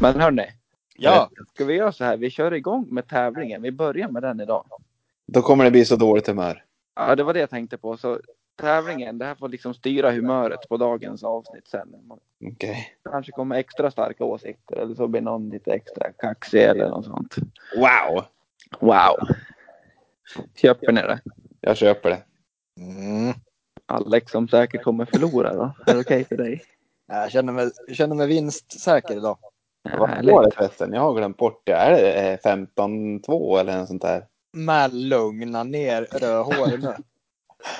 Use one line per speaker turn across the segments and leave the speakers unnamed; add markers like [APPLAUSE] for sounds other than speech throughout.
Men hörni,
Ja,
ska vi göra så här? Vi kör igång med tävlingen. Vi börjar med den idag.
Då kommer det bli så dåligt humör.
Ja, det var det jag tänkte på. Så tävlingen, det här får liksom styra humöret på dagens avsnitt sen. Man
Okej.
kanske kommer extra starka åsikter eller så blir någon lite extra kaxig eller något sånt.
Wow!
Wow! Köper ni det?
Jag köper det.
mm.
Alex som säkert kommer förlora då. Är det okej för dig?
jag, känner mig, jag känner mig vinstsäker idag.
Vad var det förresten? Jag har glömt bort det. Är det eh, 15-2 eller något sånt där?
Men lugna ner rödhåret nu.
[LAUGHS]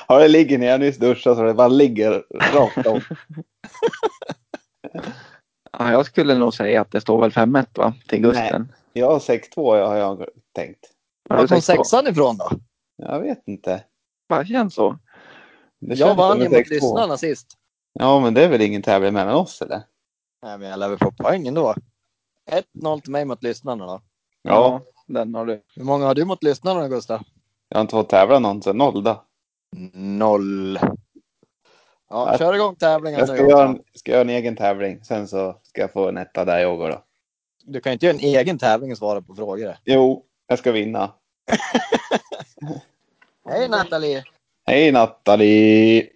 Ja, det ligger när jag nyss duschade så det bara ligger rakt om.
Ja, jag skulle nog säga att det står väl 5-1 va? Till Gusten.
Jag har 6-2 jag har jag tänkt.
Har
Var
du
kom
sagt så?
sexan ifrån då?
Jag vet inte.
Bara känns så.
Det
Jag
känns
vann
som
ju
en
mot
6-2.
lyssnarna sist.
Ja, men det är väl ingen tävling mellan oss eller?
Nej, men jag lär väl få poäng ändå. 1-0 till mig mot lyssnarna då.
Ja.
Den har du.
Hur många har du mot lyssnarna då, Gustav?
Jag har inte fått tävla någon sedan noll då.
Noll. Ja,
Jag-
kör igång tävlingen
Jag
nu.
ska göra, en, ska göra en egen tävling. Sen så ska jag få en etta där jag går då.
Du kan ju inte göra en egen tävling och svara på frågor.
Jo, jag ska vinna.
Hej Nathalie!
Hej Nathalie!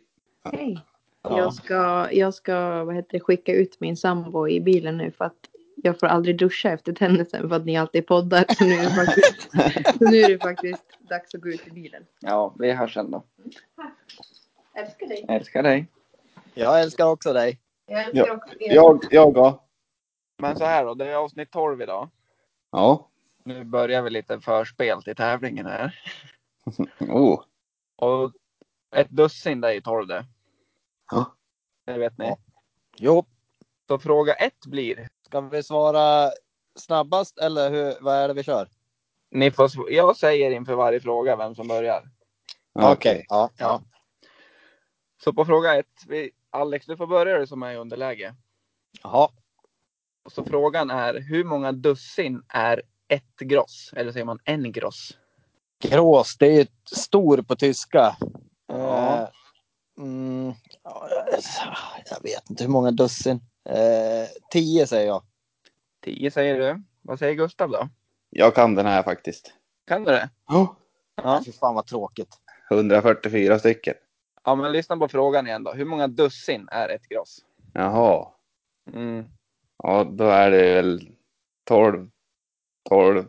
Hej.
Ja.
Jag ska, jag ska vad heter det, skicka ut min sambo i bilen nu för att jag får aldrig duscha efter tennisen för att ni alltid poddar. Så nu är det faktiskt, så nu är det faktiskt dags att gå ut i bilen.
Ja, vi hörs sen då.
Älskar dig.
Jag älskar dig.
Jag älskar också dig.
Jag
älskar Ja. Jag,
också
jag då?
Men så här då, det är avsnitt 12 idag.
Ja.
Nu börjar vi lite förspel till tävlingen här.
Oh.
Och ett dussin där i 12 det.
Ja.
Det vet ni.
Ja. Jo,
Så fråga ett blir.
ska vi svara snabbast eller hur, vad är det vi kör?
Ni får, sv- jag säger inför varje fråga vem som börjar.
Okej.
Ja, ja.
Så på fråga ett. Vi, Alex, du får börja du som är i underläge.
Jaha.
Och så frågan är hur många dussin är ett gross? Eller säger man en gross?
Grås, det är ju stor på tyska.
Ja.
Eh, Mm, ja, jag vet inte hur många dussin. Eh, tio säger jag.
10 säger du. Vad säger Gustav då?
Jag kan den här faktiskt.
Kan du det?
Ja.
Ja.
Fy fan vad tråkigt.
144 stycken.
Ja, men lyssna på frågan igen då. Hur många dussin är ett gross?
Jaha.
Mm.
Ja, då är det väl 12. 12.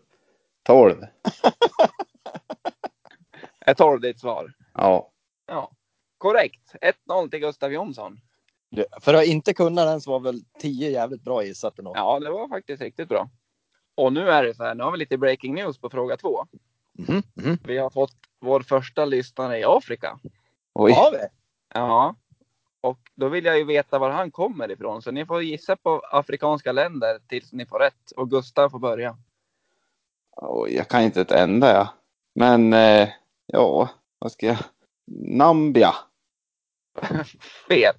12.
Är 12 ditt svar?
Ja.
Ja. Korrekt. 1-0 till Gustav Jonsson.
Du, För att inte kunna den så var väl tio jävligt bra gissat ändå.
Ja, det var faktiskt riktigt bra. Och nu är det så här, nu har vi lite breaking news på fråga två.
Mhm, mhm.
Vi har fått vår första lyssnare i Afrika.
Oj.
Har vi?
Ja. Och då vill jag ju veta var han kommer ifrån, så ni får gissa på afrikanska länder tills ni får rätt. Och Gustav får börja.
Oj, jag kan inte ett enda jag. Men eh, ja, vad ska jag? Nambia.
Fel.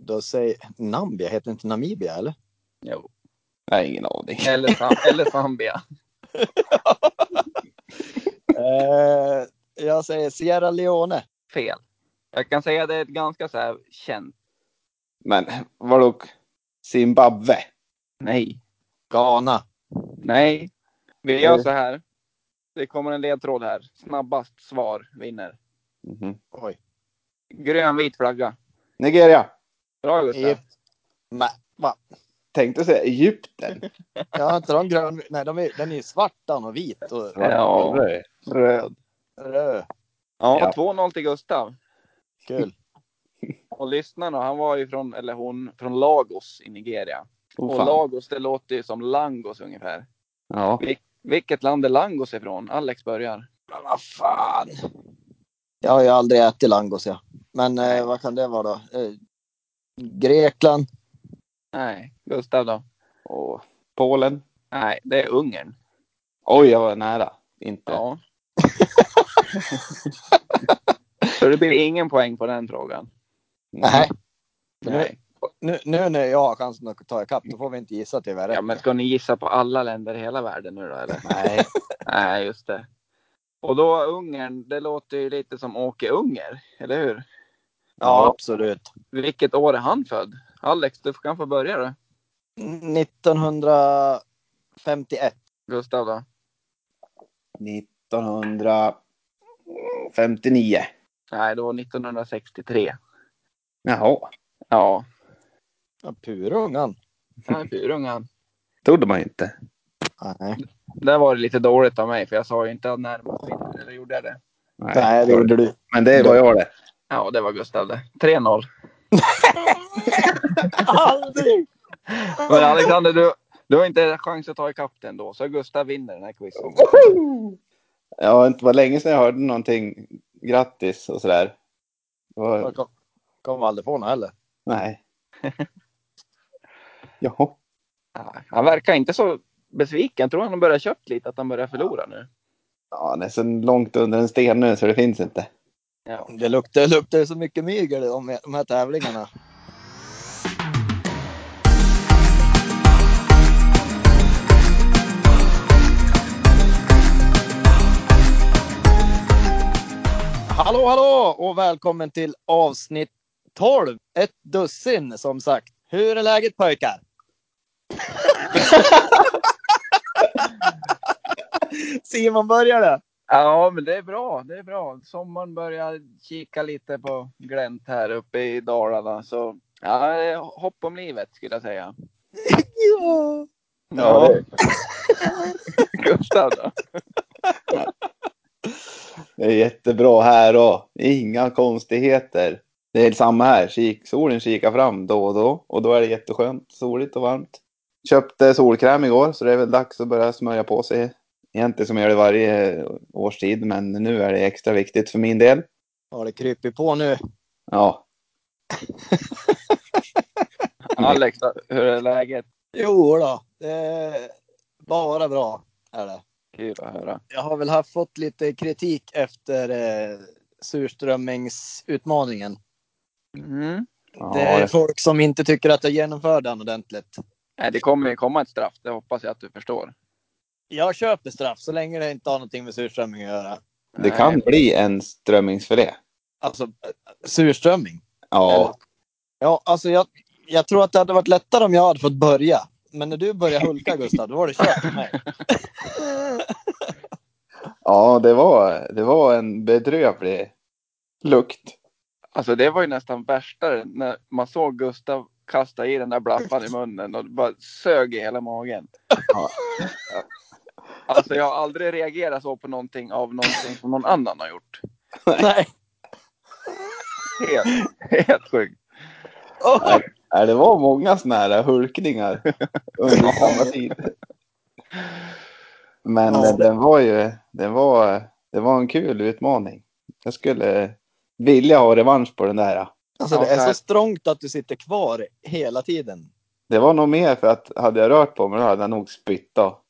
Då säger Nambia, heter inte Namibia eller?
Jo.
Nej, ingen aning.
Eller, Sam- [LAUGHS] eller Zambia.
Eh, jag säger Sierra Leone.
Fel. Jag kan säga det är ett ganska så här känt.
Men vadå? Zimbabwe.
Nej.
Ghana.
Nej, vi gör så här. Det kommer en ledtråd här. Snabbast svar vinner.
Mhm.
Oj.
Grön-vit flagga.
Nigeria.
Bra Gustav.
Egypt. Nej, va?
Tänkte
[LAUGHS]
säga Egypten.
Jag har inte de grön... Nej, de är, den är ju svart den och vit och
Ja.
Röd. Röd.
röd.
Ja,
Ja.
2-0 till Gustav.
Kul.
Och lyssnarna, han var ju från, eller hon, från Lagos i Nigeria.
Oh,
och
fan.
Lagos, det låter ju som Langos ungefär.
Ja.
Vilket land är Langos ifrån? Alex börjar.
Men vad fan. Jag har ju aldrig ätit langos jag. Men eh, vad kan det vara då? Eh, Grekland.
Nej, Gustav då?
Och Polen.
Nej, det är Ungern.
Oj, jag var nära. Inte.
Ja. [LAUGHS] så det blir ingen poäng på den frågan.
Nej.
Nej.
Mm. Nu, nu när jag har chansen att ta ikapp, då får vi inte gissa tyvärr.
Ja, men ska ni gissa på alla länder i hela världen nu då eller?
Nej.
Nej, just det. Och då Ungern, det låter ju lite som Åke Unger, eller hur?
ja, absolut.
Vilket år är han född? Alex, du kan få börja då.
1951.
Gustav då?
1959.
Nej, det var 1963.
Jaha,
Ja,
Ja, purungan.
han är purung han.
trodde man ju inte.
Nej,
Där var det lite dåligt av mig, för jag sa ju inte att närmast vinner, eller gjorde jag det?
Nej,
Nej det gjorde du.
Men det var jag det.
Ja, det var Gustav det. 3-0.
Aldrig!
Men Alexander, du, du har inte en chans att ta ikapp den då, så Gustav vinner den här quizen.
Ja, det var länge sedan jag hörde någonting. Grattis och sådär. Det var...
Jag kom, kom aldrig på något heller.
[LAUGHS]
Nej. Jaha.
Ja, han verkar inte så besviken. Tror han har börjat köpt lite, att han börjar förlora nu.
Ja, han är så långt under en sten nu så det finns inte.
Ja.
Det luktar, det luktar så mycket mygel i de, de här tävlingarna. Hallå, hallå och välkommen till avsnitt 12. Ett dussin som sagt. Hur är läget pojkar? Simon börjar det.
ja, men det är bra. Det är bra. Sommaren börjar kika lite på glänt här uppe i Dalarna. Så ja, det är hopp om livet skulle jag säga.
Ja.
Ja. [LAUGHS] Gustav då?
Det är jättebra här då. Inga konstigheter. Det är samma här. Kik, solen kikar fram då och då. Och då är det jätteskönt. Soligt och varmt. Köpte solkräm igår så det är väl dags att börja smörja på sig. Egentligen som jag gör det varje årstid men nu är det extra viktigt för min del.
Har det krypit på nu?
Ja,
Alex, hur är läget?
Jo då, det är bara bra är det.
Kul att höra.
Jag har väl haft, fått lite kritik efter eh, surströmmingsutmaningen.
Mm.
ja
det är folk som inte tycker att jag genomför den ordentligt.
Nej, det kommer ju komma ett straff, det hoppas jag att du förstår.
Jag köper straff så länge det inte har någonting med surströmming att göra.
det kan
Nej.
bli en strömmingsfilé.
Alltså eh, surströmming. Eller-
Ja,
Ja, alltså jag, jag tror att det hade varit lättare om jag hade fått börja. Men när du började hulka Gustav, då var det kört för mig.
ja det, var, det var en bedrövlig lukt.
Alltså det var ju nästan värsta när man såg Gustav kasta i den där blappan i munnen och det bara sög i hela magen.
Ja.
Alltså jag har aldrig reagerat så på någonting av någonting som någon annan har gjort.
Nej.
Helt, helt sjukt.
Åh!
Ja, det var många såna här hulkningar under samma tid. Men
Ja.
eh, den var ju den var, det var en kul utmaning. Jag skulle vilja ha revansch på den där.
Alltså det
Ja,
är
där.
så strångt att du sitter kvar hela tiden.
Det var nog mer för att hade jag rört på mig då hade jag nog spytt då.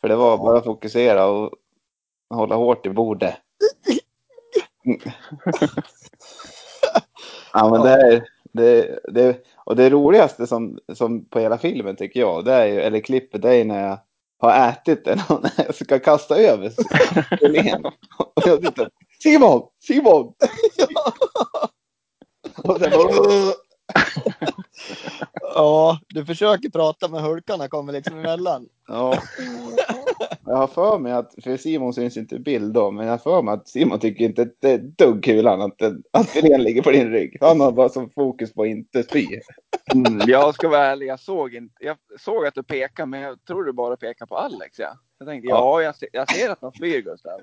För det var bara att fokusera och hålla hårt i bordet. Mm. ja, men det, är, det, det, och det roligaste som, som på hela filmen tycker jag, det är ju, eller klippet, det är ju när jag har ätit den och när [LAUGHS] jag ska kasta över Helene. Och jag sitter Simon! Simon! [LAUGHS] och sen bara,
Ja, du försöker prata men hulkarna kommer liksom emellan.
Ja. Jag har för mig att, för Simon syns inte i bild då, men jag har för mig att Simon tycker inte att det är ett dugg kul han att, att filén ligger på din rygg. Han har bara som fokus på att inte spy.
Mm, jag ska vara ärlig, jag såg, inte, jag såg att du pekade men jag tror du bara pekar på Alex. Ja. Jag tänkte ja, jag, ser- jag ser att han flyr Gustav.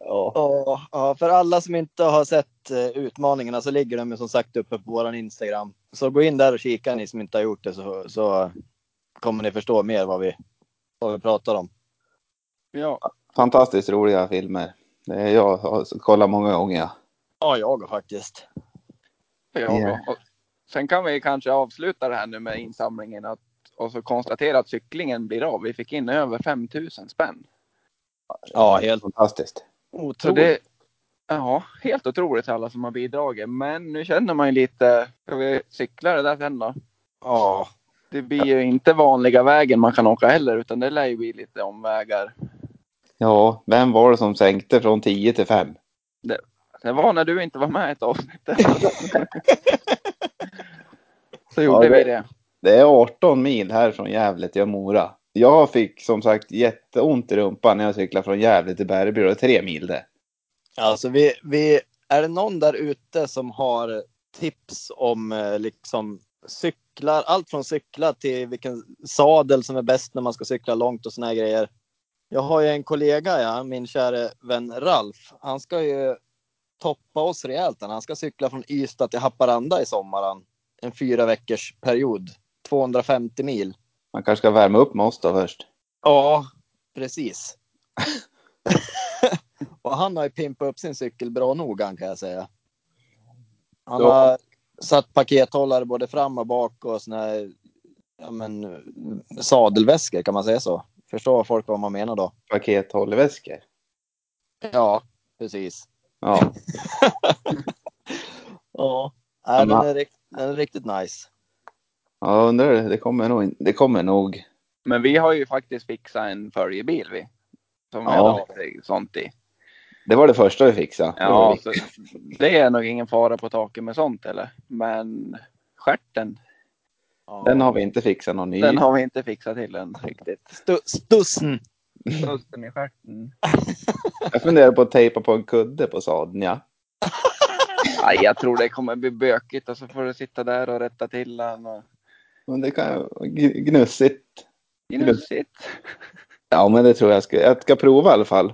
Ja.
Ja, ja, för alla som inte har sett eh, utmaningarna så ligger de ju som sagt uppe på våran Instagram. Så gå in där och kika ni som inte har gjort det så, så kommer ni förstå mer vad vi, vad vi pratar om.
Ja,
Fantastiskt roliga filmer. Det är jag har kollat många gånger. ja.
Ja, jag faktiskt.
ja. Och sen kan vi kanske avsluta det här nu med insamlingen att, och så konstatera att cyklingen blir av. Vi fick in över 5000 spänn.
Ja, helt
Fantastiskt.
Så
otroligt.
det, ja, helt otroligt till alla som har bidragit. Men nu känner man ju lite, ska vi cykla det där sen då?
Ja.
Det blir ju inte vanliga vägen man kan åka heller, utan det lär ju bli lite omvägar.
Ja, vem var det som sänkte från 10 till 5?
Det var när du inte var med i ett avsnitt. Så gjorde
Ja,
vi
det-
det.
Det är 18 mil här från Gävle till Mora. Jag fick som sagt jätteont i rumpan när jag cyklade från Gävle till Bärby. Det är tre mil det.
Alltså vi, vi, är det någon där ute som har tips om eh, liksom cyklar, allt från cykla till vilken sadel som är bäst när man ska cykla långt och såna här grejer. Jag har ju en kollega, ja, min käre vän Ralf. Han ska ju toppa oss rejält. Han ska cykla från Ystad till Haparanda i sommaren. En fyra veckors period, 250 mil.
Man kanske ska värma upp med oss då först.
Ja, precis. [LAUGHS] och han har ju pimpat upp sin cykel bra nog han, kan jag säga. Han
Ja.
har satt pakethållare både fram och bak och såna här, ja, men, sadelväskor kan man säga så. Förstår folk vad man menar då?
Pakethållväskor.
Ja, precis.
Ja,
Ja. Nej, den,
Ja.
är, rikt- den är riktigt nice.
ja undrar det. Det kommer nog. in- Det kommer nog.
Men vi har ju faktiskt fixat en följebil vi. Som vi
Ja.
har lite sånt i.
Det var det första vi fixade. Det var
Ja,
vi.
så det är nog ingen fara på taket med sånt eller. Men stjärten,
Ja.
Den har vi inte fixat någon ny.
den har vi inte fixat till än [LAUGHS] riktigt.
Stu- Stussen!
Pusten i stjärten.
Jag funderar på att tejpa på en kudde på sadeln ja.
Nej, jag tror det kommer bli bökigt och så får du sitta där och rätta till den. Och...
Men det kan ju vara gn- gnussigt.
Gnusigt.
Ja, men det tror jag. Ska, jag ska prova i alla fall.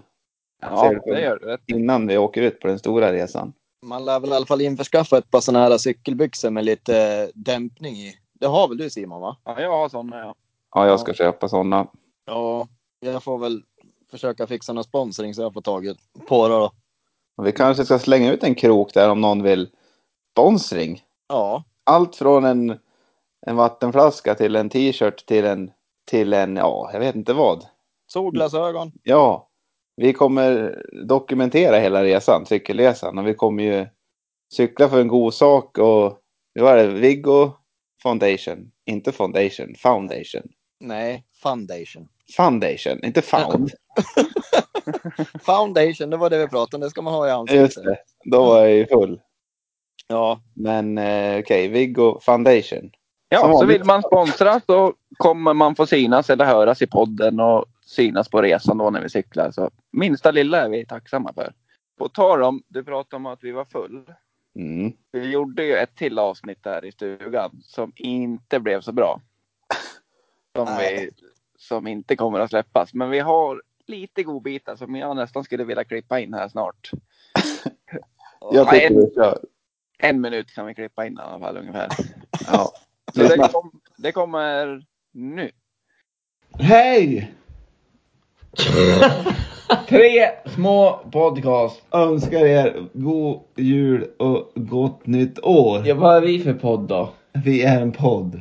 Ja, det gör du rätt i.
Innan vi åker ut på den stora resan.
Man lär väl i alla fall införskaffa ett par såna här cykelbyxor med lite eh, dämpning i. Det har väl du Simon va?
Ja, jag har sådana ja.
Ja, jag ska köpa sådana.
Ja, jag får väl försöka fixa någon sponsring så jag får tag på det då.
Och vi kanske ska slänga ut en krok där om någon vill sponsring.
Ja,
Allt från en, en vattenflaska till en t-shirt till en, till en, ja, jag vet inte vad.
solglasögon.
Ja, vi kommer dokumentera hela resan, cykelresan. Och vi kommer ju cykla för en god sak och, vad är det, Viggo Foundation. Inte Foundation, Foundation.
Nej, foundation.
Foundation, inte Found.
Foundation, det var det vi pratade om. Det ska man ha i
Just
ansiktet.
det, då var jag ju full.
Ja,
Men eh, okej, Viggo Foundation. Som
Ja, så
vanligt.
vill man sponsra så kommer man få synas eller höras i podden och synas på resan då när vi cyklar. Så minsta lilla är vi tacksamma för. På tal om, du pratade om att vi var full.
Mm.
Vi gjorde ju ett till avsnitt där i stugan som inte blev så bra. Som, vi,
Nej.
som inte kommer att släppas. Men vi har lite godbitar som jag nästan skulle vilja klippa in här snart.
Jag
Nej,
tycker vi kör.
En minut kan vi klippa in i alla fall ungefär.
Ja.
Så det, kom, det kommer nu.
[LAUGHS] Hej! Tre små podcast.
önskar er god jul och gott nytt år.
Ja, vad är vi för podd då?
Vi är en podd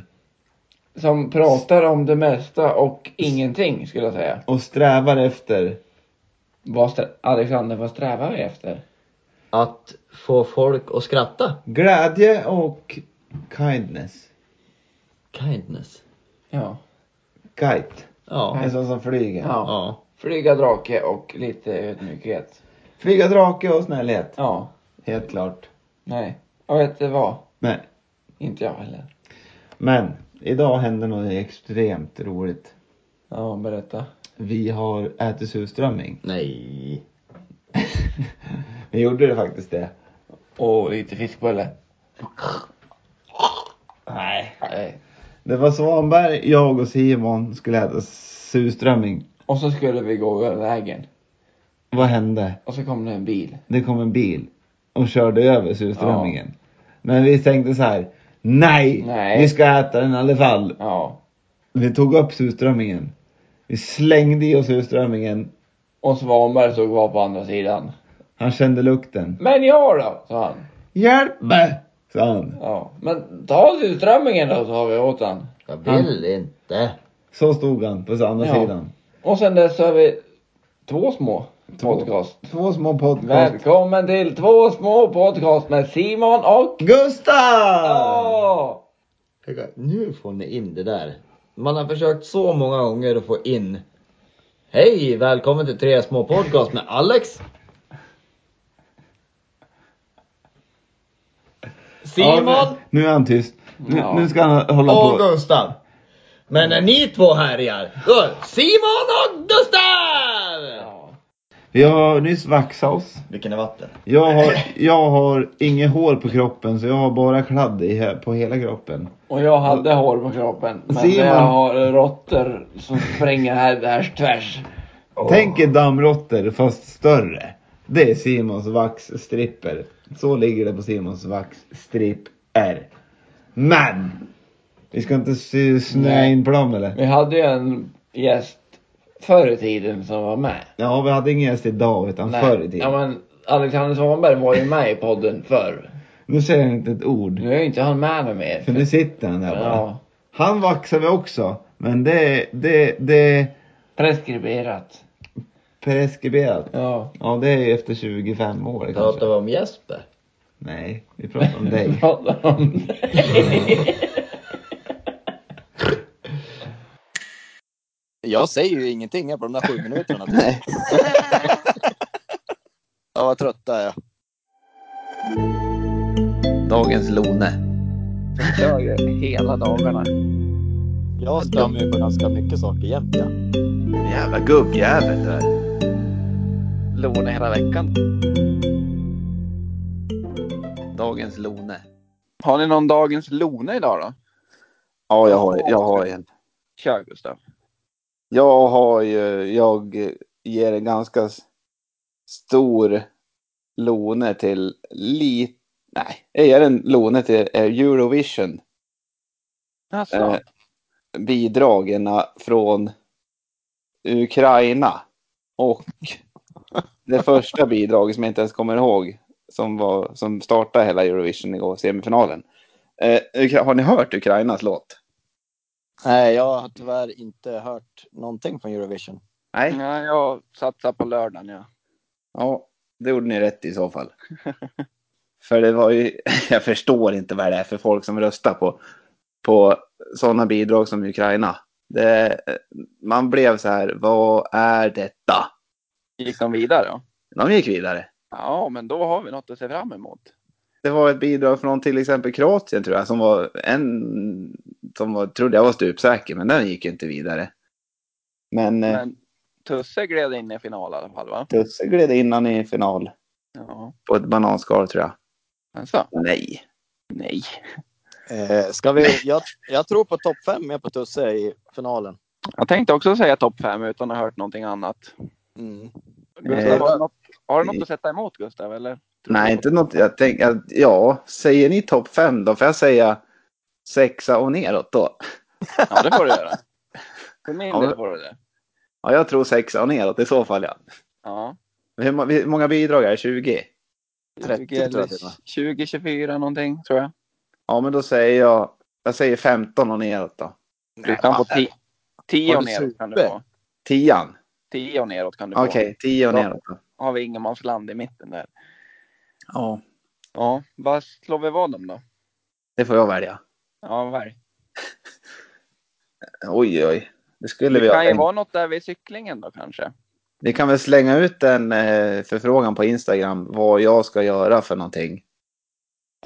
Som pratar om det mesta och ingenting skulle jag säga.
och strävar efter
Vad strä- Alexander, vad strävar vi efter?
att få folk att skratta.
glädje och kindness.
Kindness.
Ja.
Kite.
Ja.
En sån som flyger.
ja.
Ja.
Flyga drake och lite ödmjukhet.
Flyga drake och snällhet.
Ja.
Helt klart.
Nej. Jag vet inte vad.
Men,
Inte jag heller.
men idag händer något extremt roligt.
Ja, berätta.
Vi har ätit surströmming.
Nej.
[LAUGHS] Vi gjorde det faktiskt det.
Och lite fiskbulle.
Nej.
Nej.
Det var Svanberg, jag och Simon skulle äta surströmming.
Och så skulle vi gå över vägen.
Vad hände?
Och så kom det en bil.
det kom en bil och körde över surströmmingen. Men vi tänkte så här. Nej,
Nej.
vi ska äta den i alla fall.
Ja.
Vi tog upp surströmmingen. Vi slängde i oss surströmmingen.
Och Svanberg stod kvar på andra sidan.
Han kände lukten.
Men jag då? sa han.
Hjälp mig! sa han.
Ja. Men ta surströmmingen då, sa vi åt han.
Jag vill inte.
Så stod han på andra
Ja.
sidan.
Och sen dess har vi två små podcast.
Två små podcast.
Välkommen till två små podcast med Simon och...
Gustav!
Åh!
Nu får ni in det där. Man har försökt så många gånger att få in. Hej! Välkommen till Tre små podcast med Alex. Simon!
Ja, nu nu är han tyst.
Nu, nu ska han hålla
och
på.
Gustav. Men när ni två härjar, då Simon och Gustav!
Vi har nyss vaxat oss.
Vilken är vatten?
Jag har, jag har inget hår på kroppen så jag har bara kladd i, här- på hela kroppen.
Och jag hade hår på kroppen. Men
Simon.
jag har råttor som springer här tvärs tvärs.
Tänk er dammråttor fast större. Det är Simons vaxstripper. Så ligger det på Simons vaxstripper. Men! Vi ska inte sy- snöa
Nej.
in på dem eller?
Vi hade ju en gäst förr i tiden som var med.
Ja, vi hade ingen gäst idag utan förr i tiden.
Ja, men Alexander Svanberg var ju med i podden förr.
Nu säger han inte ett ord.
Nu är ju inte han med mig mer.
För nu sitter han där bara.
Ja,
Han vaxar vi också. Men det, det, det är
preskriberat.
preskriberat.
Ja.
Ja, det är efter 25 år kanske.
Pratar vi om Jesper?
Nej, vi pratar om dig.
Pratar
[LAUGHS]
om
Jag säger ju ingenting här på de där sju [LAUGHS] minuterna. ja, vad trött jag är.
Dagens Lone. De kör ju hela dagarna.
Jag stämmer ju på ganska mycket saker jämt. Ja.
Jävla gubbjävel du är. Lone hela veckan. Dagens Lone. Har ni någon Dagens Lone idag då?
Ja, jag har, jag har en.
Kör Gustav.
Jag har ju, jag ger en ganska s- stor lone till lite, nej, jag ger en lone till eh, Eurovision
Alltså,
eh, bidragen från Ukraina. Och det första bidraget som jag inte ens kommer ihåg som, var, som startade hela Eurovision igår, semifinalen. Eh, Ukra- har ni hört Ukrainas låt?
Nej, jag har tyvärr inte hört någonting från Eurovision.
Nej.
ja, jag satsar på lördagen ja.
Ja, det gjorde ni rätt i så fall. [LAUGHS] för det var ju, [LAUGHS] jag förstår inte vad det är för folk som röstar på, på sådana bidrag som Ukraina. Det, man blev så här, vad är detta?
Gick de vidare då?
De gick vidare.
Ja, men då har vi något att se fram emot.
Det var ett bidrag från till exempel Kroatien tror jag, som var en som var, trodde jag var stupsäker, men den gick ju inte vidare. Men, men...
Men Tusse gled in i final i alla fall va?
Tusse gled innan i final
Ja.
på ett bananskal tror jag.
Alltså,
Nej.
nej.
Eh, ska vi, jag, jag tror på topp fem med på Tusse i finalen.
Jag tänkte också säga topp fem utan att ha hört någonting annat.
Mm.
Gustav,
Eh,
har, du något, har du något att sätta emot Gustav eller?
Nej, inte något. Jag tänker att, ja, säger ni topp fem då får jag säga sexa och neråt då.
Ja, det får du
[LAUGHS]
göra. För min
Ja,
del
men-
får du det.
Ja, jag tror sexa och neråt i så fall ja.
Ja.
Hur, må- hur många bidrag är det? 20?
30
20 eller
tror jag till och med.
20, 24 någonting tror jag.
Ja, men då säger jag, jag säger 15 och neråt då.
Du kan få 10 ti
Var
och
du
neråt kan du
super?
få.
Tian?
10 och neråt kan du få.
Okej, tio och
Ja.
neråt då.
Har vi ingenmansland i mitten där.
Ja,
Ja, vad slår vi vad om då?
det får jag välja.
Ja, välj.
Oj, oj. Det skulle vi
Det
ha
kan ju
tänkt.
vara något där vid cyklingen då kanske.
Vi kan väl slänga ut en eh, förfrågan på Instagram vad jag ska göra för någonting.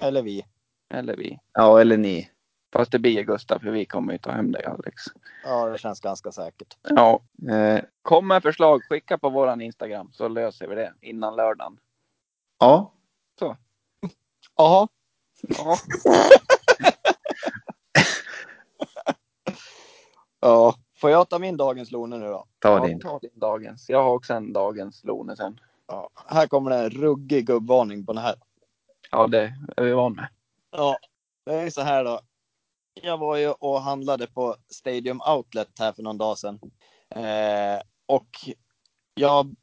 Eller vi.
Eller vi.
Ja, eller ni.
Fast det blir ju Gustav för vi kommer ju ta hem dig Alex.
Ja, det känns ganska säkert.
Ja,
Eh,
kom med förslag. Skicka på våran Instagram så löser vi det innan lördagen.
ja,
Jaha,
Ja,
[LAUGHS] ja. får jag ta min dagens Lone nu då?
ta
ja,
din.
ta din dagens. Jag har också en dagens Lone sen.
Ja. Här kommer det en ruggig gubbvarning på den här.
Ja, det är vi van med.
Ja, det är ju så här då. Jag var ju och handlade på Stadium Outlet här för någon dag sedan. Eh, och jag,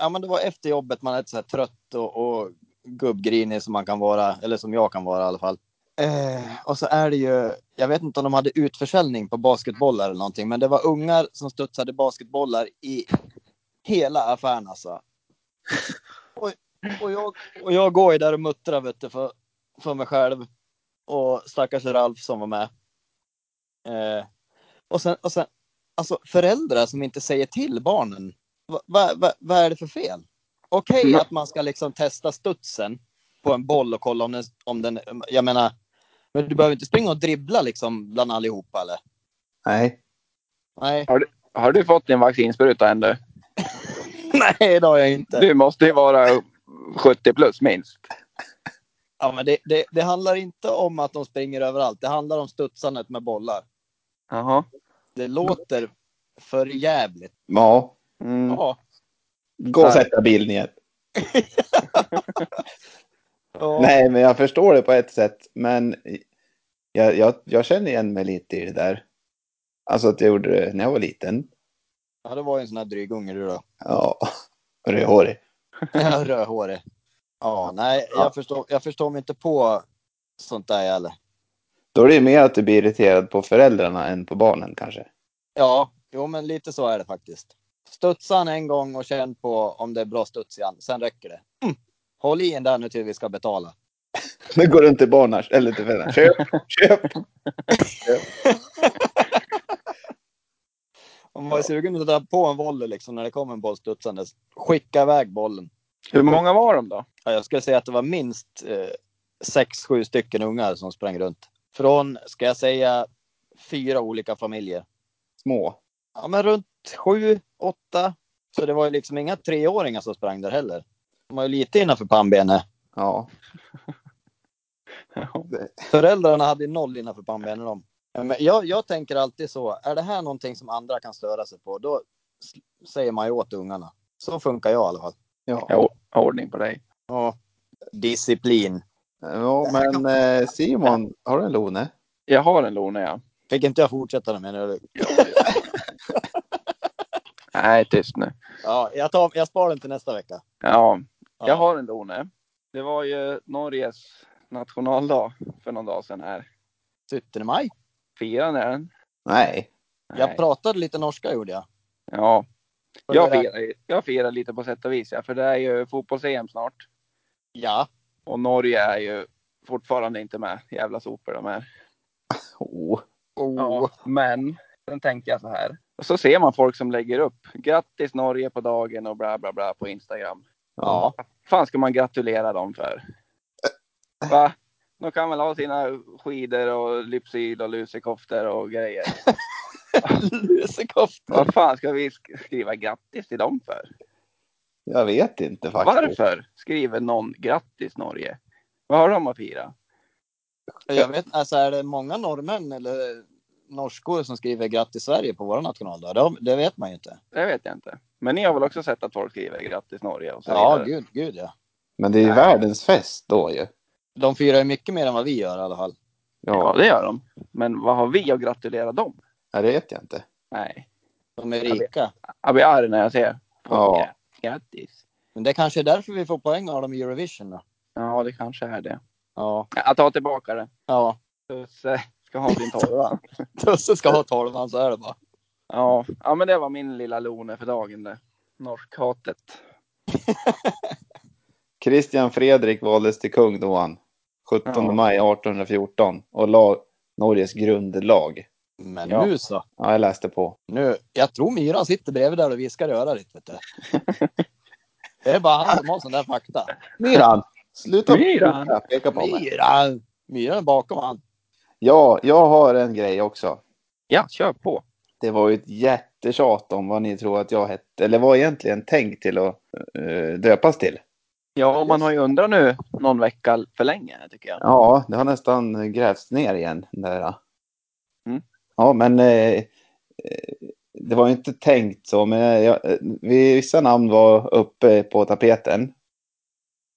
ja men det var efter jobbet, man är så här trött och, och gubbgrinig som man kan vara, eller som jag kan vara i alla fall. Eh, och så är det ju, jag vet inte om de hade utförsäljning på basketbollar eller någonting, men det var ungar som studsade basketbollar i hela affären alltså. Och, och, jag, och jag går ju där och muttrar vet du, för för mig själv och stackars Ralf som var med. Eh, och sen, och sen alltså föräldrar som inte säger till barnen. Vad va, va, vad är det för fel? Okej
Mm.
att man ska liksom testa studsen på en boll och kolla om den, om den, jag menar, Men du behöver inte springa och dribbla liksom bland allihopa eller?
Nej.
Nej,
Har du fått din vaccinspruta ännu?
[LAUGHS] nej det har jag inte.
Du måste ju vara 70 plus minst.
Ja, men det, det, det handlar inte om att de springer överallt. Det handlar om studsandet med bollar.
Jaha.
Det låter för jävligt.
Ja. Mm.
Ja.
Gå och sätta bilden igen.
Ja.
Nej, men jag förstår det på ett sätt. Men jag, jag, jag känner igen mig lite i det där. Alltså att jag gjorde det när jag var liten.
Ja, det var ju en sån här dryg unge du då. [LAUGHS]
Ja, [LAUGHS] rödhårig.
Ja, Rödhårig. Ja, nej, jag förstår, jag förstår mig inte på sånt där heller.
Då är det ju mer att du blir irriterad på föräldrarna än på barnen kanske. [LAUGHS]
Ja, jo, men lite så är det faktiskt. Studsa han en gång och känn på om det är bra studs igen. Sen räcker det. Mm. Håll i en där nu till vi ska betala.
Nu går du till barnen, eller till [LAUGHS] föräldrarna. Köp, köp!
Om man är sugen att dra på en volley liksom när det kommer en boll studsandes, skicka iväg bollen.
Hur många var de då?
Ja, jag skulle säga att det var minst eh, sex, sju stycken ungar som sprang runt. Från, ska jag säga, fyra olika familjer.
Små.
Ja, men runt sju, åtta. Så det var ju liksom inga treåringar som sprang där heller. De var ju lite innanför pannbenet.
Ja.
Föräldrarna hade ju noll innanför pannbenen. De. Men jag, jag tänker alltid så, är det här någonting som andra kan störa sig på, då s- säger man ju åt ungarna. Så funkar jag i alla fall.
Ja,
Jag har ordning på dig.
Ja. Disciplin.
ja men eh, Simon, har du en Lone?
Jag har en Lone ja.
Fick inte jag fortsätta det menar du?
[LAUGHS] Nej, tyst nu.
Ja, jag, tar, jag sparar den till nästa vecka.
Ja,
Ja.
jag har en Lone. Det var ju Norges nationaldag för någon dag sedan här.
17 maj.
Firar ni den?
Nej.
Jag
Nej.
pratade lite norska gjorde jag.
Ja,
För
jag
det där-
firar, ju- jag firar lite på sätt och vis ja, för det är ju fotbolls-EM snart.
Ja,
Och Norge är ju fortfarande inte med. Jävla sopor de är.
Oh.
Ja, men sen tänkte jag så här. Och så ser man folk som lägger upp. Grattis Norge på dagen och bla bla bla på Instagram.
Ja.
fan ska man gratulera dem för? Va? De kan väl ha sina skidor och lypsyl och lusekoftor och [LAUGHS] grejer.
[LAUGHS] lusekofta.
Vad fan ska vi sk- skriva grattis till dem för?
Jag vet inte faktiskt.
Varför skriver någon grattis Norge? Vad har de att fira?
Jag vet alltså är det många norrmän eller norskor som skriver grattis Sverige på vår nationaldag? Det, det vet man ju inte.
Det vet jag inte. Men ni har väl också sett att folk skriver grattis Norge och så
Ja,
vidare?
gud, gud ja.
Men det är ju världens fest då ju.
De firar ju mycket mer än vad vi gör i alla fall.
Ja,
Ja,
det gör de. Men vad har vi att gratulera dem?
ja det vet jag inte.
Nej.
De är
Jag vet.
rika.
Jag blir arg när jag ser. folk.
Ja.
Grattis.
Men det kanske är därför vi får poäng av dem i Eurovision då.
Ja, det kanske är det.
Ja,
Jag tar tillbaka det.
ja.
Tusse ska ha sin
[LAUGHS]
tolva.
Tusse ska ha tolvan så är det bara.
Ja, ja men det var min lilla lone för dagen det. Norskhatet.
Christian Fredrik valdes till kung då han. 17
Ja.
maj 1814 och la Norges grundlag.
Men
Ja.
nu så.
Ja, jag läste på.
Nu, jag tror myran sitter bredvid där och viskar i örat [LAUGHS] vet du. Det är bara han som har sån där fakta.
Myran! Sluta
Myran!
Ja, peka på mig.
Myran! Myran är bakom han.
Ja, jag har en grej också.
Ja, kör på.
Det var ju ett jättetjat om vad ni tror att jag hette, eller var egentligen tänkt till att eh, döpas till.
Ja, man har ju undrat nu någon vecka för länge tycker jag.
Ja, det har nästan grävts ner igen. Där.
Mm.
Ja, men eh, eh, det var ju inte tänkt så, men jag, eh, vissa namn var uppe på tapeten.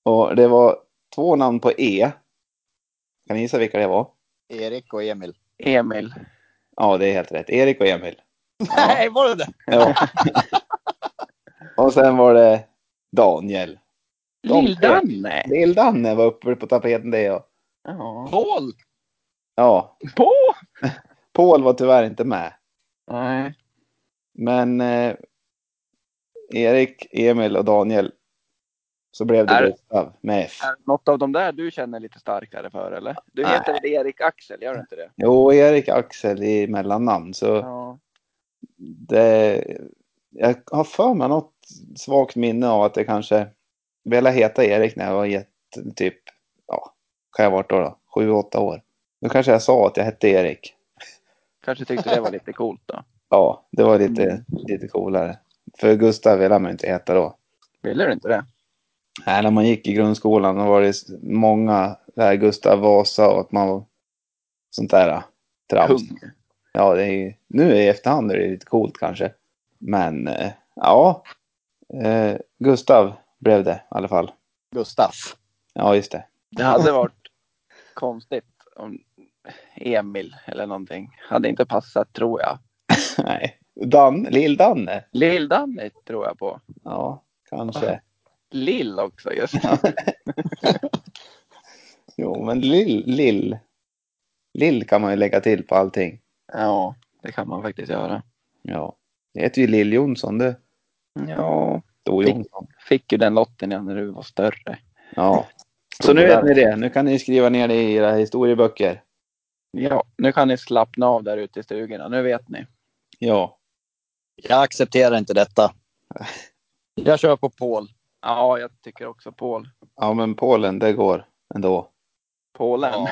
Och det var två namn på E. Kan ni gissa vilka det var?
Erik och [LAUGHS] Emil.
Emil.
Ja, det är helt rätt. Erik och Emil.
Nej, var det det?
Ja. och sen var det Daniel. De-
Lill-Danne.
Lill-Danne var uppe på tapeten det. och-
Ja.
Paul!
Ja,
På!
Paul var tyvärr inte med.
Nej.
Men eh, Erik, Emil och Daniel. Så blev det
Är-
Gustav med F.
Är det något av de där du känner lite starkare för eller? Du
Nej.
heter väl Erik Axel, gör du inte det?
Jo, Erik Axel i mellannamn. Så
Ja.
det, jag har för mig något svagt minne av att jag kanske ville heta Erik när jag var jätte, typ, ja, kan jag ha varit då? då? Sju, åtta år. Nu kanske jag sa att jag hette Erik.
Kanske tyckte det var lite coolt då.
Ja, det var
Mm.
lite, lite coolare. För Gustav ville man ju inte heta då.
Ville du inte det?
Nej, när man gick i grundskolan då var det s- många, det här Gustav Vasa och att man var sånt där trams.
Kung.
Ja, det är, ju- nu i efterhand är det lite coolt kanske. Men eh, ja, eh, Gustav blev det i alla fall.
Gustaf.
Ja, just det. [LAUGHS]
Det hade varit konstigt om Emil eller någonting. Hade inte passat tror jag.
Nej. Dan, Lill-Danne.
Lill-Danny tror jag på.
Ja, kanske.
Lill också just.
Jo, men Lill, Lill. Lill kan man ju lägga till på allting.
[LAUGHS] Ja, det kan man faktiskt göra.
Ja. Det heter ju Lill Jonsson du.
Ja,
Då
Fick-
Jonsson.
fick ju den lotten igen när du var större.
Ja. Så nu vet ni det. Nu kan ni skriva ner det i era historieböcker.
Ja, nu kan ni slappna av där ute i stugorna. Nu vet ni.
Ja.
Jag accepterar inte detta. Jag kör på Paul.
Ja, jag tycker också Paul.
Ja, men Polen, det går ändå.
Polen.
Ja.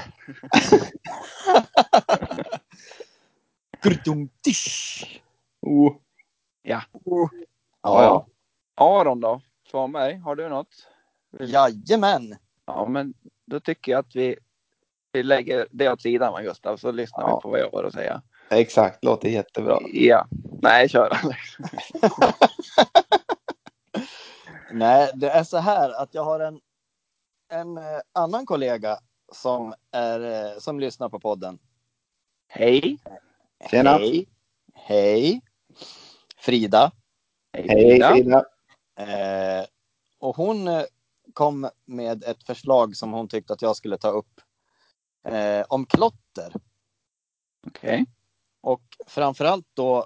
Grudumtish.
Oh.
Oh. Ja, ja.
Aron då? Svanberg, har du något?
Jajamän.
Ja, men då tycker jag att vi, vi lägger det åt sidan, va, Gustav, så lyssnar
Ja.
vi på vad jag har att säga.
Exakt, låter jättebra.
Ja. Nej, kör [LAUGHS] Alex.
Nej, det är så här att jag har en, en eh, annan kollega som, är, eh, som lyssnar på podden.
Hej.
Tjena.
Hej. Hej. Frida.
Hej
Frida.
Frida.
Eh, och hon eh, kom med ett förslag som hon tyckte att jag skulle ta upp. Eh, om klotter.
Okej.
Och framförallt då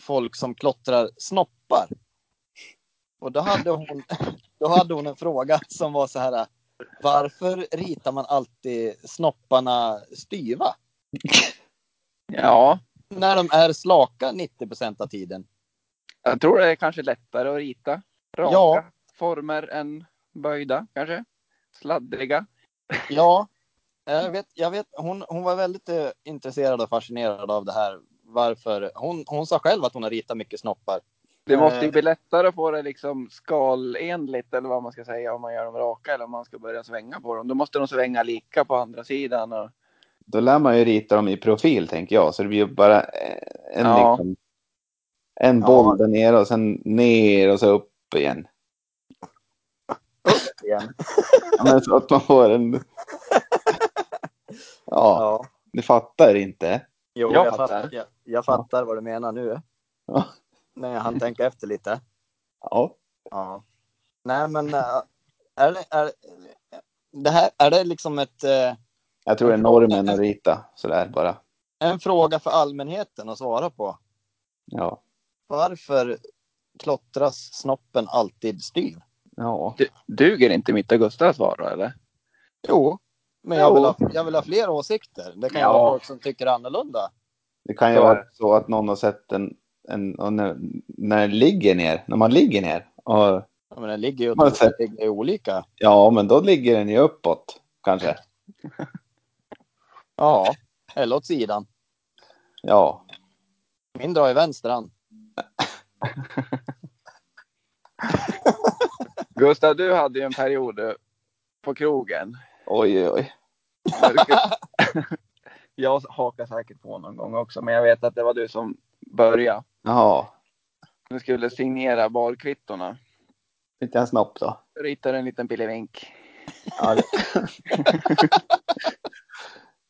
folk som klottrar snoppar. Och då hade hon, [LAUGHS] då hade hon en fråga som var så här. Varför ritar man alltid snopparna styva?
Ja,
När de är slaka 90 av tiden.
jag tror det är kanske lättare att rita raka
Ja.
former än böjda kanske. Sladdriga.
Ja, jag vet. Jag vet hon, hon var väldigt eh, intresserad och fascinerad av det här. Varför? Hon, hon sa själv att hon har ritat mycket snoppar.
Det måste ju
Eh.
bli lättare att få det liksom skalenligt eller vad man ska säga om man gör dem raka eller om man ska börja svänga på dem. Då måste de svänga lika på andra sidan. Och...
Då lär man ju rita dem i profil tänker jag. Så det blir ju bara eh, en,
Ja.
liksom, en
Ja.
boll där nere och sen ner och så upp igen.
Igen.
Ja, Men så att man får en... Ja,
Ja,
du fattar inte.
jo,
Jag
jag,
fattar.
fattar. Jag, jag fattar vad du menar nu.
Ja.
När jag hann tänka efter lite.
Ja.
Ja. Nej, men äh, är det, är, det här, är det liksom ett, eh,
Jag tror det är normen att rita sådär bara.
en fråga för allmänheten att svara på?
Ja.
Varför klottras snoppen alltid styv?
Ja.
Du, duger inte mitt och Gustavs svar då eller?
Jo, men jag
Jo.
vill, ha, jag vill ha fler åsikter. Det kan ju
Ja.
vara folk som tycker annorlunda.
Det kan ju
Så är
vara så att någon har sett en... en och när, när den ligger ner. När man ligger ner. Och,
Ja, men den ligger ju
Man ser.
det ligger ju olika.
ja, men då ligger den ju uppåt kanske.
[LAUGHS] Ja, eller åt sidan.
Ja.
Min drar ju vänster hand.
Gustav, du hade ju en period eh, på krogen.
Oj, oj, oj.
[LAUGHS] Jag hakar säkert på någon gång också, men jag vet att det var du som började.
Jaha.
Du skulle signera barkvittorna.
Inte en snopp då?
Ritade en liten pillevink.
Ja, det...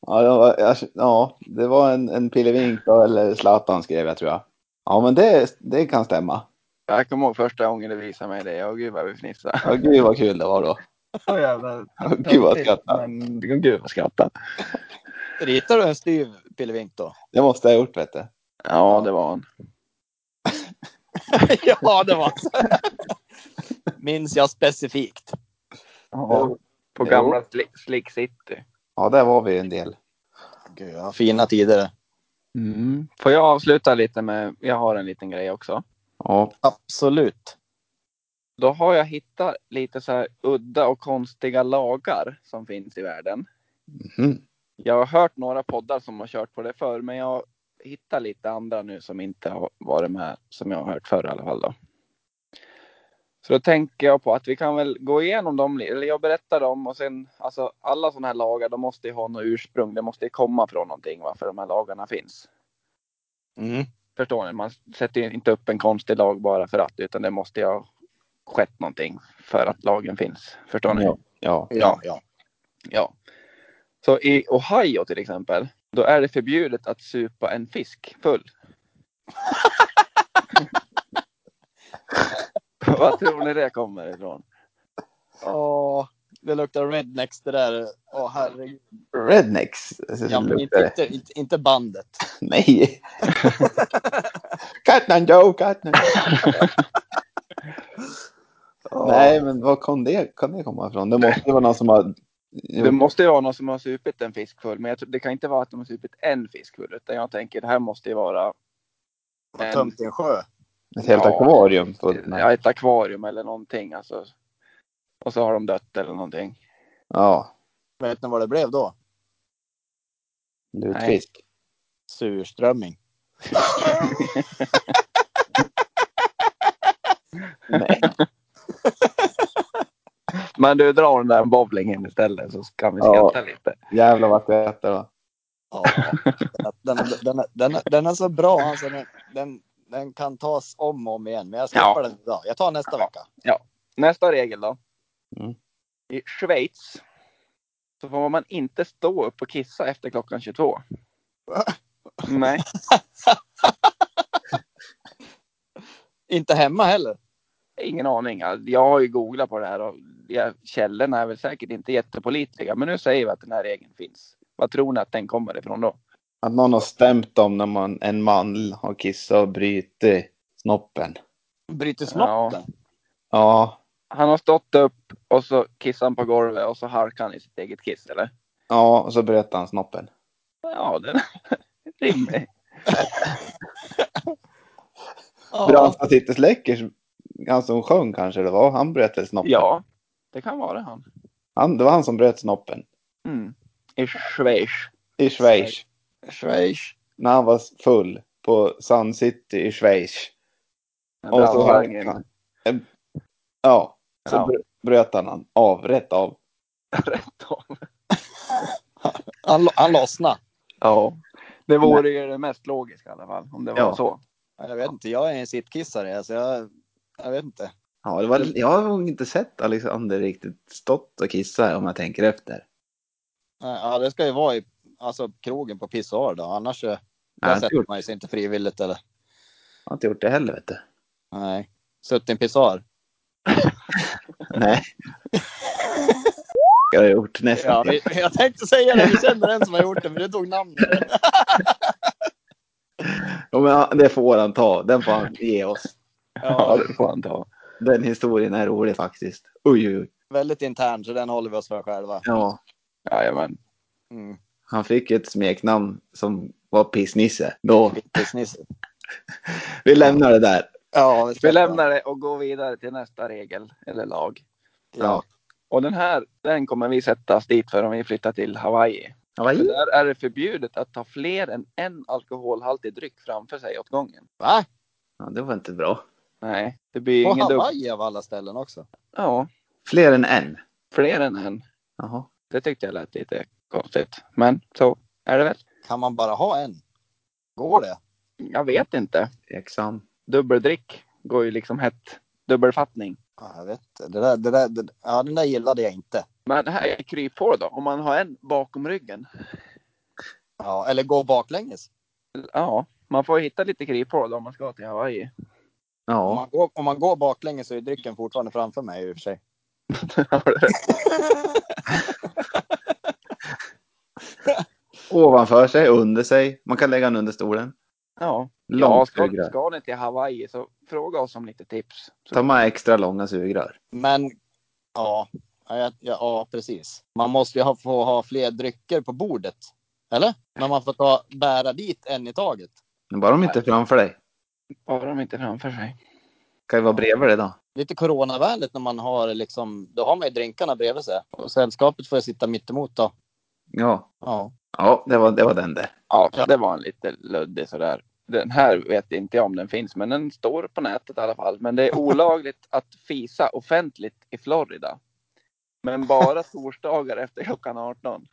ja, det var, jag, ja, det var en, en pillevink då, eller Zlatan skrev jag tror jag. Ja, men det, det kan stämma.
Jag kommer ihåg första gången du visade mig det. Åh gud vad vi fnissade.
Ja, gud vad kul det var då. Ja, gud vad jag skrattade.
Men, gud vad skrattade.
Ritar du en styv pillevink då?
Det måste jag ha gjort vet du.
Ja, det var han.
[LAUGHS] ja, det var Minns jag specifikt.
Ja, på
Jo.
gamla Sli- Slick City.
Ja, där var vi en del.
Gud, ja, fina tider.
Mm. Får jag avsluta lite med, jag har en liten grej också.
Ja,
Absolut.
Då har jag hittat lite så här udda och konstiga lagar som finns i världen.
mhm.
Jag har hört några poddar som har kört på det förr, men jag hittar lite andra nu som inte har varit med, som jag har hört förr i alla fall. Då. Så då tänker jag på att vi kan väl gå igenom dem, li- eller jag berättar dem och sen, alltså alla sådana här lagar, de måste ju ha något ursprung, det måste ju komma från någonting varför de här lagarna finns.
Mm.
Förstår ni? Man sätter ju inte upp en konstig lag bara för att, utan det måste ju ha skett någonting för att lagen finns. Förstår ni?
Ja.
Ja.
ja.
Ja. Så i Ohio till exempel, då är det förbjudet att supa en fisk full. [LAUGHS] Vad tror ni det kommer ifrån?
Åh, det luktar rednecks det där. Åh herregud.
Rednecks.
Ja, men inte,
Luktar det.
inte, inte, inte bandet.
[LAUGHS]
Nej. Katnan Joe, Katnan. Nej, men var kan det, kan det komma ifrån? Det måste ju vara någon som har...
Det måste ju vara någon som har supit en fisk full, men jag tror, det kan inte vara att de har supit en fisk full, utan jag tänker det här måste ju vara
Man
en-
tömt i en sjö.
Ett helt
Ja.
akvarium fullt med.
ja, ett akvarium eller någonting. Alltså. Och så har de dött eller någonting.
Ja,
Vet ni vad det blev då?
lutfisk.
Surströmming.
Nej.
Men du drar den där bowlingen istället så kan vi
Ja.
skratta lite.
Jävlar vad jag äter va. [LAUGHS]
Ja, den, den, den, den är så bra. Alltså, den, den, den kan tas om och om igen. Men jag skippar
Ja.
den idag. Jag tar nästa vecka.
Nästa regel då.
Mm.
I Schweiz så får man inte stå upp och kissa efter klockan 22.
Va?
Nej,
Inte hemma heller.
ingen aning. Jag har ju googlat på det här och jag- källorna är väl säkert inte jättepålitliga. Men nu säger vi att den här regeln finns. Vad tror ni att den kommer ifrån då?
Att någon har stämt dem när man, en man har kissat och brutit snoppen.
Bryter snoppen.
Ja,
Han har stått upp och så kissar han på golvet och så harkar han i sitt eget kiss eller?
ja och så bröt han snoppen.
Ja, den är [LAUGHS] rimlig.
Ja.
Brandsta sitter släckers, han som sjöng kanske det var, han bröt väl snoppen?
Ja, det kan vara han.
Han, det var han som bröt snoppen.
Mm. I Schweiz.
I Schweiz.
Schweiz.
När han var full på Sun City i Schweiz. Och så harkade han. Ja, så
Ja.
br- bröt han han av, rätt av.
Rätt av.
Han, han lossnade.
Ja. Det vore ju det mest logiska i alla fall, om det var
Ja.
så.
Jag vet inte. Jag är en sittkissare. Alltså jag, jag vet inte.
Ja, det var, jag har nog inte sett Alexander riktigt stått och kissa om jag tänker efter.
Ja, det ska ju vara i alltså, krogen på pissoar då. Annars eh,
jag
där
har inte
sätter
gjort-
man ju sig inte frivilligt. Eller?
Jag har inte gjort det heller vet du.
Nej. Suttit i en pissoar.
Nej. [LAUGHS] jag har gjort nästan.
Ja, [LAUGHS] vi, jag tänkte säga det. Vi känner en som har gjort det, men du tog namnet.
Ja, men han- det får han ta. Den får han ge oss.
Ja, det får han ta.
Den historien är rolig faktiskt. Oj, oj, oj.
Väldigt intern, så den håller vi oss för själva.
Ja,
Jajamän.
Mm.
han fick ett smeknamn som var Pissnisse. Då,
Pissnisse.
vi lämnar det där.
Ja,
Vi lämnar det och går vidare till nästa regel, eller lag.
Ja.
Och den här, den kommer vi sättas dit för om vi flyttar till Hawaii. För
Mm.
Hawaii?
där är det förbjudet att ta fler än en alkoholhaltig dryck framför sig åt gången.
Va?
Ja, det var inte bra.
Nej, det blir ju
På
ingen dubbel.
Hawaii av alla ställen också.
Ja,
Fler än en?
fler än en.
Jaha.
Det tyckte jag lät lite konstigt. Men så är det väl.
Kan man bara ha en? Går det?
Jag vet inte.
Tveksam.
Dubbeldrick går ju liksom hett. Dubbelfattning.
Ja, jag vet inte. det där, det där, det, ja, Den där gillade jag inte.
Men här är kryphål då. Om man har en bakom ryggen.
Ja, eller gå baklänges.
Ja, man får hitta lite kryphål då om man ska till Hawaii.
Om,
Ja.
man går, om man går baklänges så är drycken fortfarande framför mig i och för sig.
Ovanför sig, under sig. Man kan lägga den under stolen.
ja, ja
Långt
ska,
sugrör.
ska ni till Hawaii så fråga oss om lite tips. Så,
Ta med extra långa sugrör.
Men ja, ja, ja, ja, precis. Man måste ju ha, få ha fler drycker på bordet. Eller? Men man får ta, bära dit en i taget.
Men bara de inte är framför dig.
bara de inte framför sig.
Kan ju vara bredvid dig då.
lite coronavänligt när man har liksom, då har man ju drinkarna bredvid sig. Och sällskapet får jag sitta mittemot då.
Ja.
Ja.
Ja, det var, det
[LAUGHS]
var den det.
Ja, det var en lite luddig sådär. Den här vet inte jag om den finns, men den står på nätet i alla fall. Men det är olagligt att fisa offentligt i Florida. Men bara torsdagar efter klockan 18.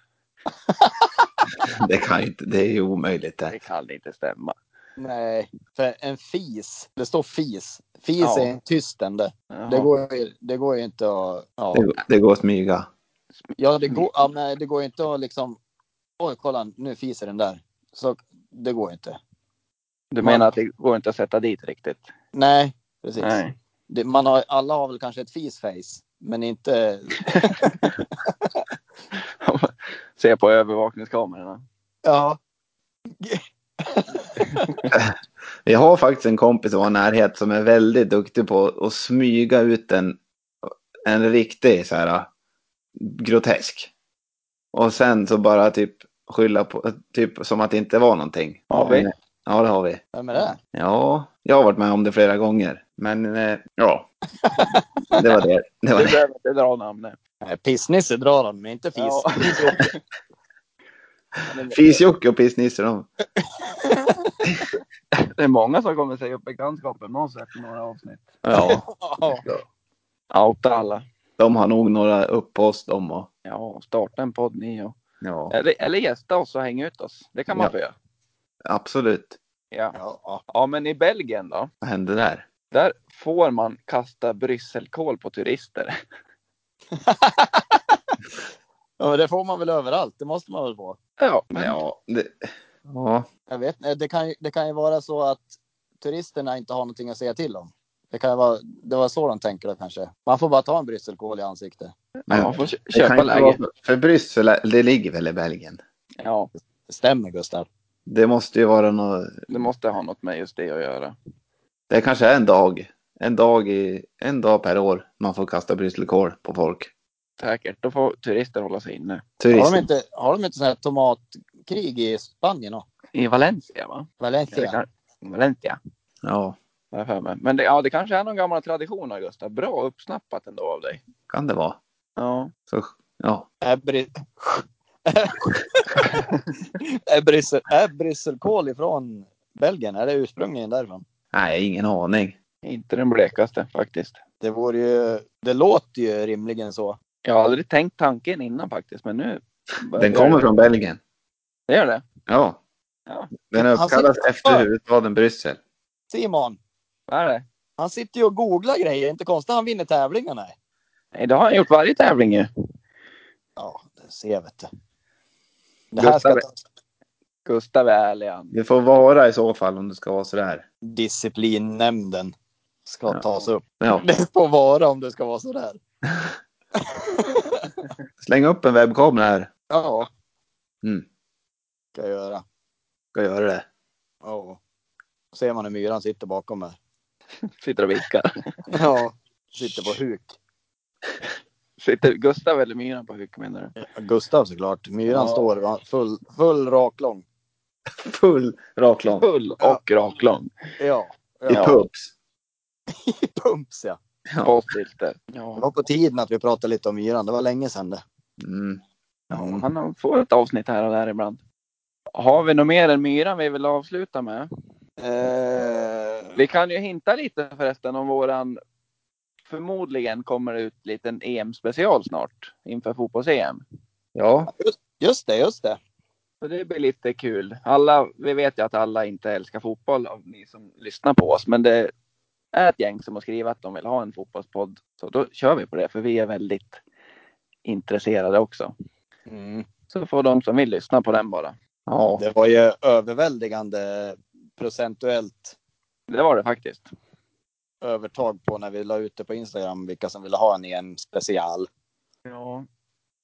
Det kan ju inte, det är ju omöjligt det.
Det kan inte stämma.
Nej, för en fis. Det står fis. Fis
Ja.
är en tystende.
Jaha.
Det går, ju- det går ju inte att... Ja,
Det, går- det går att smyga.
ja, det, går, ja nej, det går ju inte att liksom... Oj, kolla nu fiser den där. Så det går ju inte.
Du menar att det går inte att sätta dit riktigt?
Nej, precis.
Nej.
Det, man har, alla har väl kanske ett fisface, men inte...
Se på övervakningskamerorna.
Ja,
Vi har faktiskt en kompis i vår närhet som är väldigt duktig på att smyga ut en, en riktig så här grotesk. Och sen så bara typ skylla på, typ som att det inte var någonting.
Har vi?
Ja, det har vi.
vem är det?
Ja, jag har varit med om det flera gånger. Men eh, ja, det var det. det, var
Du
det.
behöver inte dra namnet.
Nej, Pissnisse drar han, men inte fis.
Ja. [LAUGHS]
Fis-Jocke och Piss-Nisse de.
Det är många som kommer säga upp bekantskapen med oss efter några avsnitt.
Ja,
Ja.
Outa alla.
de har nog några upp på oss de och.
Ja, starta en podd ni och.
Ja,
Eller, eller gästa oss och hänga ut oss. Det kan man
Ja.
få göra.
absolut.
Ja.
Ja.
ja, men i Belgien då?
Vad hände där?
Där får man kasta brysselkål på turister.
Ja, men det får man väl överallt. Det måste man väl få.
Ja, men
Ja, det, ja.
Jag vet inte, det kan, ju- det kan ju vara så att turisterna inte har någonting att säga till om. Det kan ju vara, det var så de tänker då kanske. Man får bara ta en brysselkål i ansiktet.
man
Men-
får kö-
Det kan
köpa
inte vara
läge.
För, för Bryssel, är- det ligger väl i Belgien?
Ja,
Det stämmer Gustav.
Det måste ju vara något,
det måste ha något med just det att göra.
det kanske är en dag, en dag, i, en dag per år man får kasta brysselkål på folk.
Säkert, då får turister hålla sig inne.
Har de
Turism.
inte, har de inte sån här tomatkrig i Spanien och
I Valencia va? Eller
Valencia?
kan- Valencia,
Ja,
har jag för mig. Men det, ja, det kanske är någon gammal tradition Augusta. Bra uppsnappat ändå av dig.
kan det vara.
Ja.
Så, ja.
Är, bry... [LAUGHS] är, bryssel, är brysselkål ifrån Belgien? Är det ursprungligen därifrån?
Nej, ingen aning.
Inte den blekaste faktiskt.
Det vore ju, det låter ju rimligen så.
Jag har aldrig tänkt tanken innan faktiskt, men nu.
Den kommer från Belgien.
Det gör det?
Ja.
Ja.
Den
Han ser-
uppkallas efter huvudstaden Bryssel.
Simon,
Vad är det?
han sitter ju och googlar grejer. Inte konstigt han vinner tävlingarna.
Nej, det har han gjort varje tävling ju.
Ja, det ser jag vet du. Det här ska
Gustav-
ta
Gustav är ärlig han.
Det får vara i så fall om det ska vara sådär.
disciplinnämnden ska
Ja.
tas upp.
Ja.
[LAUGHS] Det får vara om det ska vara sådär.
Släng upp en webbkamera här.
Ja.
Mm.
Ska jag göra.
Ska göra det.
Ja. Ser man hur myran sitter bakom mig.
Sitter och vinkar.
Ja. [LAUGHS] Sitter på huk.
Sitter Gustav eller Myran på huk menar du?
Gustav såklart. Myran
Ja.
står va? full, full raklång.
Full raklång.
Full och raklång.
Ja.
I
ja.
pubs.
I pumps ja.
Ja.
På filter.
Det var på tiden att vi pratade lite om myran. Det var länge sedan det.
Mm.
Ja, han har- får ett avsnitt här och där ibland. Har vi något mer än Myran vi vill avsluta med?
Eh,
Vi kan ju hinta lite förresten om våran Förmodligen kommer det ut liten EM-special snart inför fotbolls-EM.
Ja.
just det, just det.
Så det blir lite kul. Alla, vi vet ju att alla inte älskar fotboll av ni som lyssnar på oss, men det är ett gäng som har skrivit att de vill ha en fotbollspodd. Så då kör vi på det, för vi är väldigt intresserade också. Så får de som vill lyssna på den bara.
ja.
Det var ju överväldigande procentuellt
Det var det faktiskt.
övertag på när vi la ut det på Instagram vilka som ville ha en EM special.
Ja.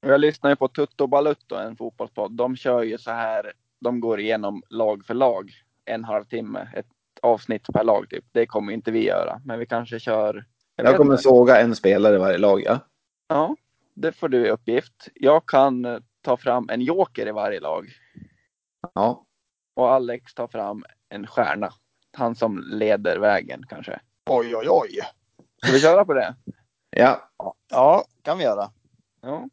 Jag lyssnar ju på Tutto Balutto, en fotbollspodd. De kör ju så här, de går igenom lag för lag, en halvtimme, ett avsnitt per lag typ. Det kommer inte vi göra, men vi kanske kör. jag
Jag
vet
kommer
inte.
såga en spelare i varje lag, ja.
Ja, det får du i uppgift. Jag kan eh, ta fram en joker i varje lag
Ja.
och Alex tar fram en stjärna. Han som leder vägen kanske.
Oj, oj, oj.
Ska vi köra på det?
Ja.
Ja, kan vi göra.
Ja.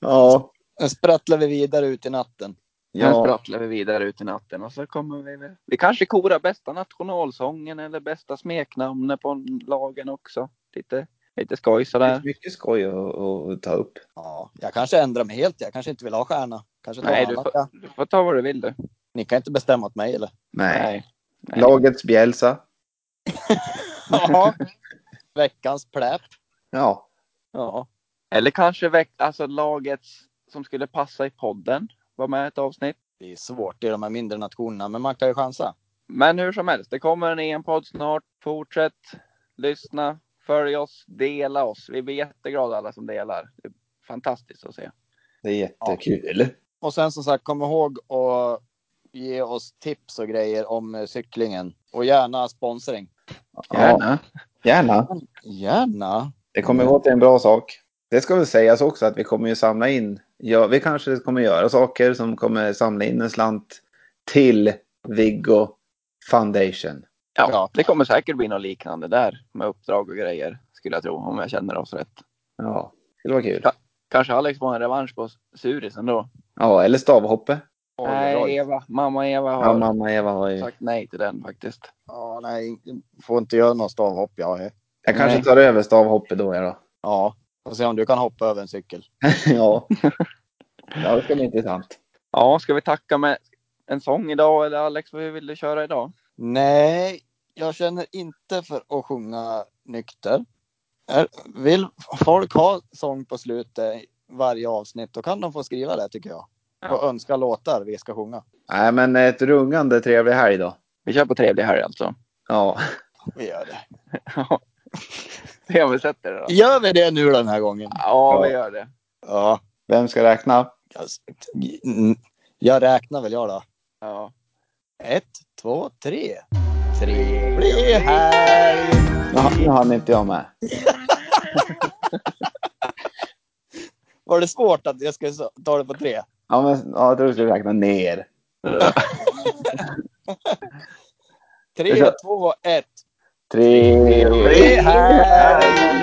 Ja.
Nu sprattlar vi vidare ut i natten.
Nu
ja.
sprattlar vi vidare ut i natten och så kommer vi väl- Vi kanske korar bästa nationalsången eller bästa smeknamnet på lagen också. Lite, lite skoj
Det är
sådär.
mycket skoj att, att ta upp.
Ja, jag kanske ändrar mig helt. Jag kanske inte vill ha stjärna. Kanske tar
Nej,
Nej,
du
annat.
får-
ja.
Du får ta vad du vill du.
Ni kan inte bestämma åt mig eller?
Nej. Nej.
Lagets Bjälsa.
Ja. Veckans pläp.
Ja.
Ja.
Eller kanske väck, alltså laget som skulle passa i podden. Var med i ett avsnitt.
Det är svårt i de här mindre nationerna, men man kan ju chansa.
Men hur som helst, det kommer en EM-podd snart. Fortsätt lyssna, följ oss, dela oss. Vi blir jätteglada alla som delar. Det är fantastiskt att se.
Det är jättekul.
Och sen som sagt, kom ihåg att ge oss tips och grejer om eh, cyklingen. Och gärna sponsring.
Ja, gärna.
Gärna.
Det kommer gå till en bra sak. Det ska väl sägas också att vi kommer ju samla in. Ja, vi kanske kommer göra saker som kommer samla in en slant till Viggo Foundation.
Ja,
Ja.
det kommer säkert bli något liknande där med uppdrag och grejer skulle jag tro om jag känner oss rätt.
Ja, det skulle vara kul.
Ja. Kanske Alex får en revansch på surisen då.
Ja, eller stavhoppe.
Nej, Eva, mamma Eva har
Ja, mamma Eva har ju...
sagt nej till den faktiskt.
Ja, nej, får inte göra något stavhopp jag. eh.
Jag kanske
Nej.
tar över stavhoppet då. Jag då.
Ja, och se om du kan hoppa över en cykel.
[LAUGHS] ja. ja, det ska bli intressant.
Ja, ska vi tacka med en sång idag eller Alex, vad vill du köra idag?
Nej, jag känner inte för att sjunga nykter. Är- Vill folk ha sång på slutet i varje avsnitt, då kan de få skriva det tycker jag. Och önska låtar vi ska sjunga.
Nej, men ett rungande trevlig helg då.
Vi kör på trevlig helg alltså.
Ja.
Vi gör det.
Ja. Se om vi sätter det då.
Gör vi det nu den här gången?
Ja, vi gör det.
Ja.
Vem ska räkna?
jag s- mm, Jag räknar väl jag då.
Ja.
Ett, två, tre. Trevlig helg!
Nu hann- Nu hann inte jag med.
Var det svårt att jag skulle så- ta det på tre?
Ja, men ja, jag tror du skulle räkna ner.
Tre,
Jag kör.
två, ett.
Trevlig
Trevlig helg!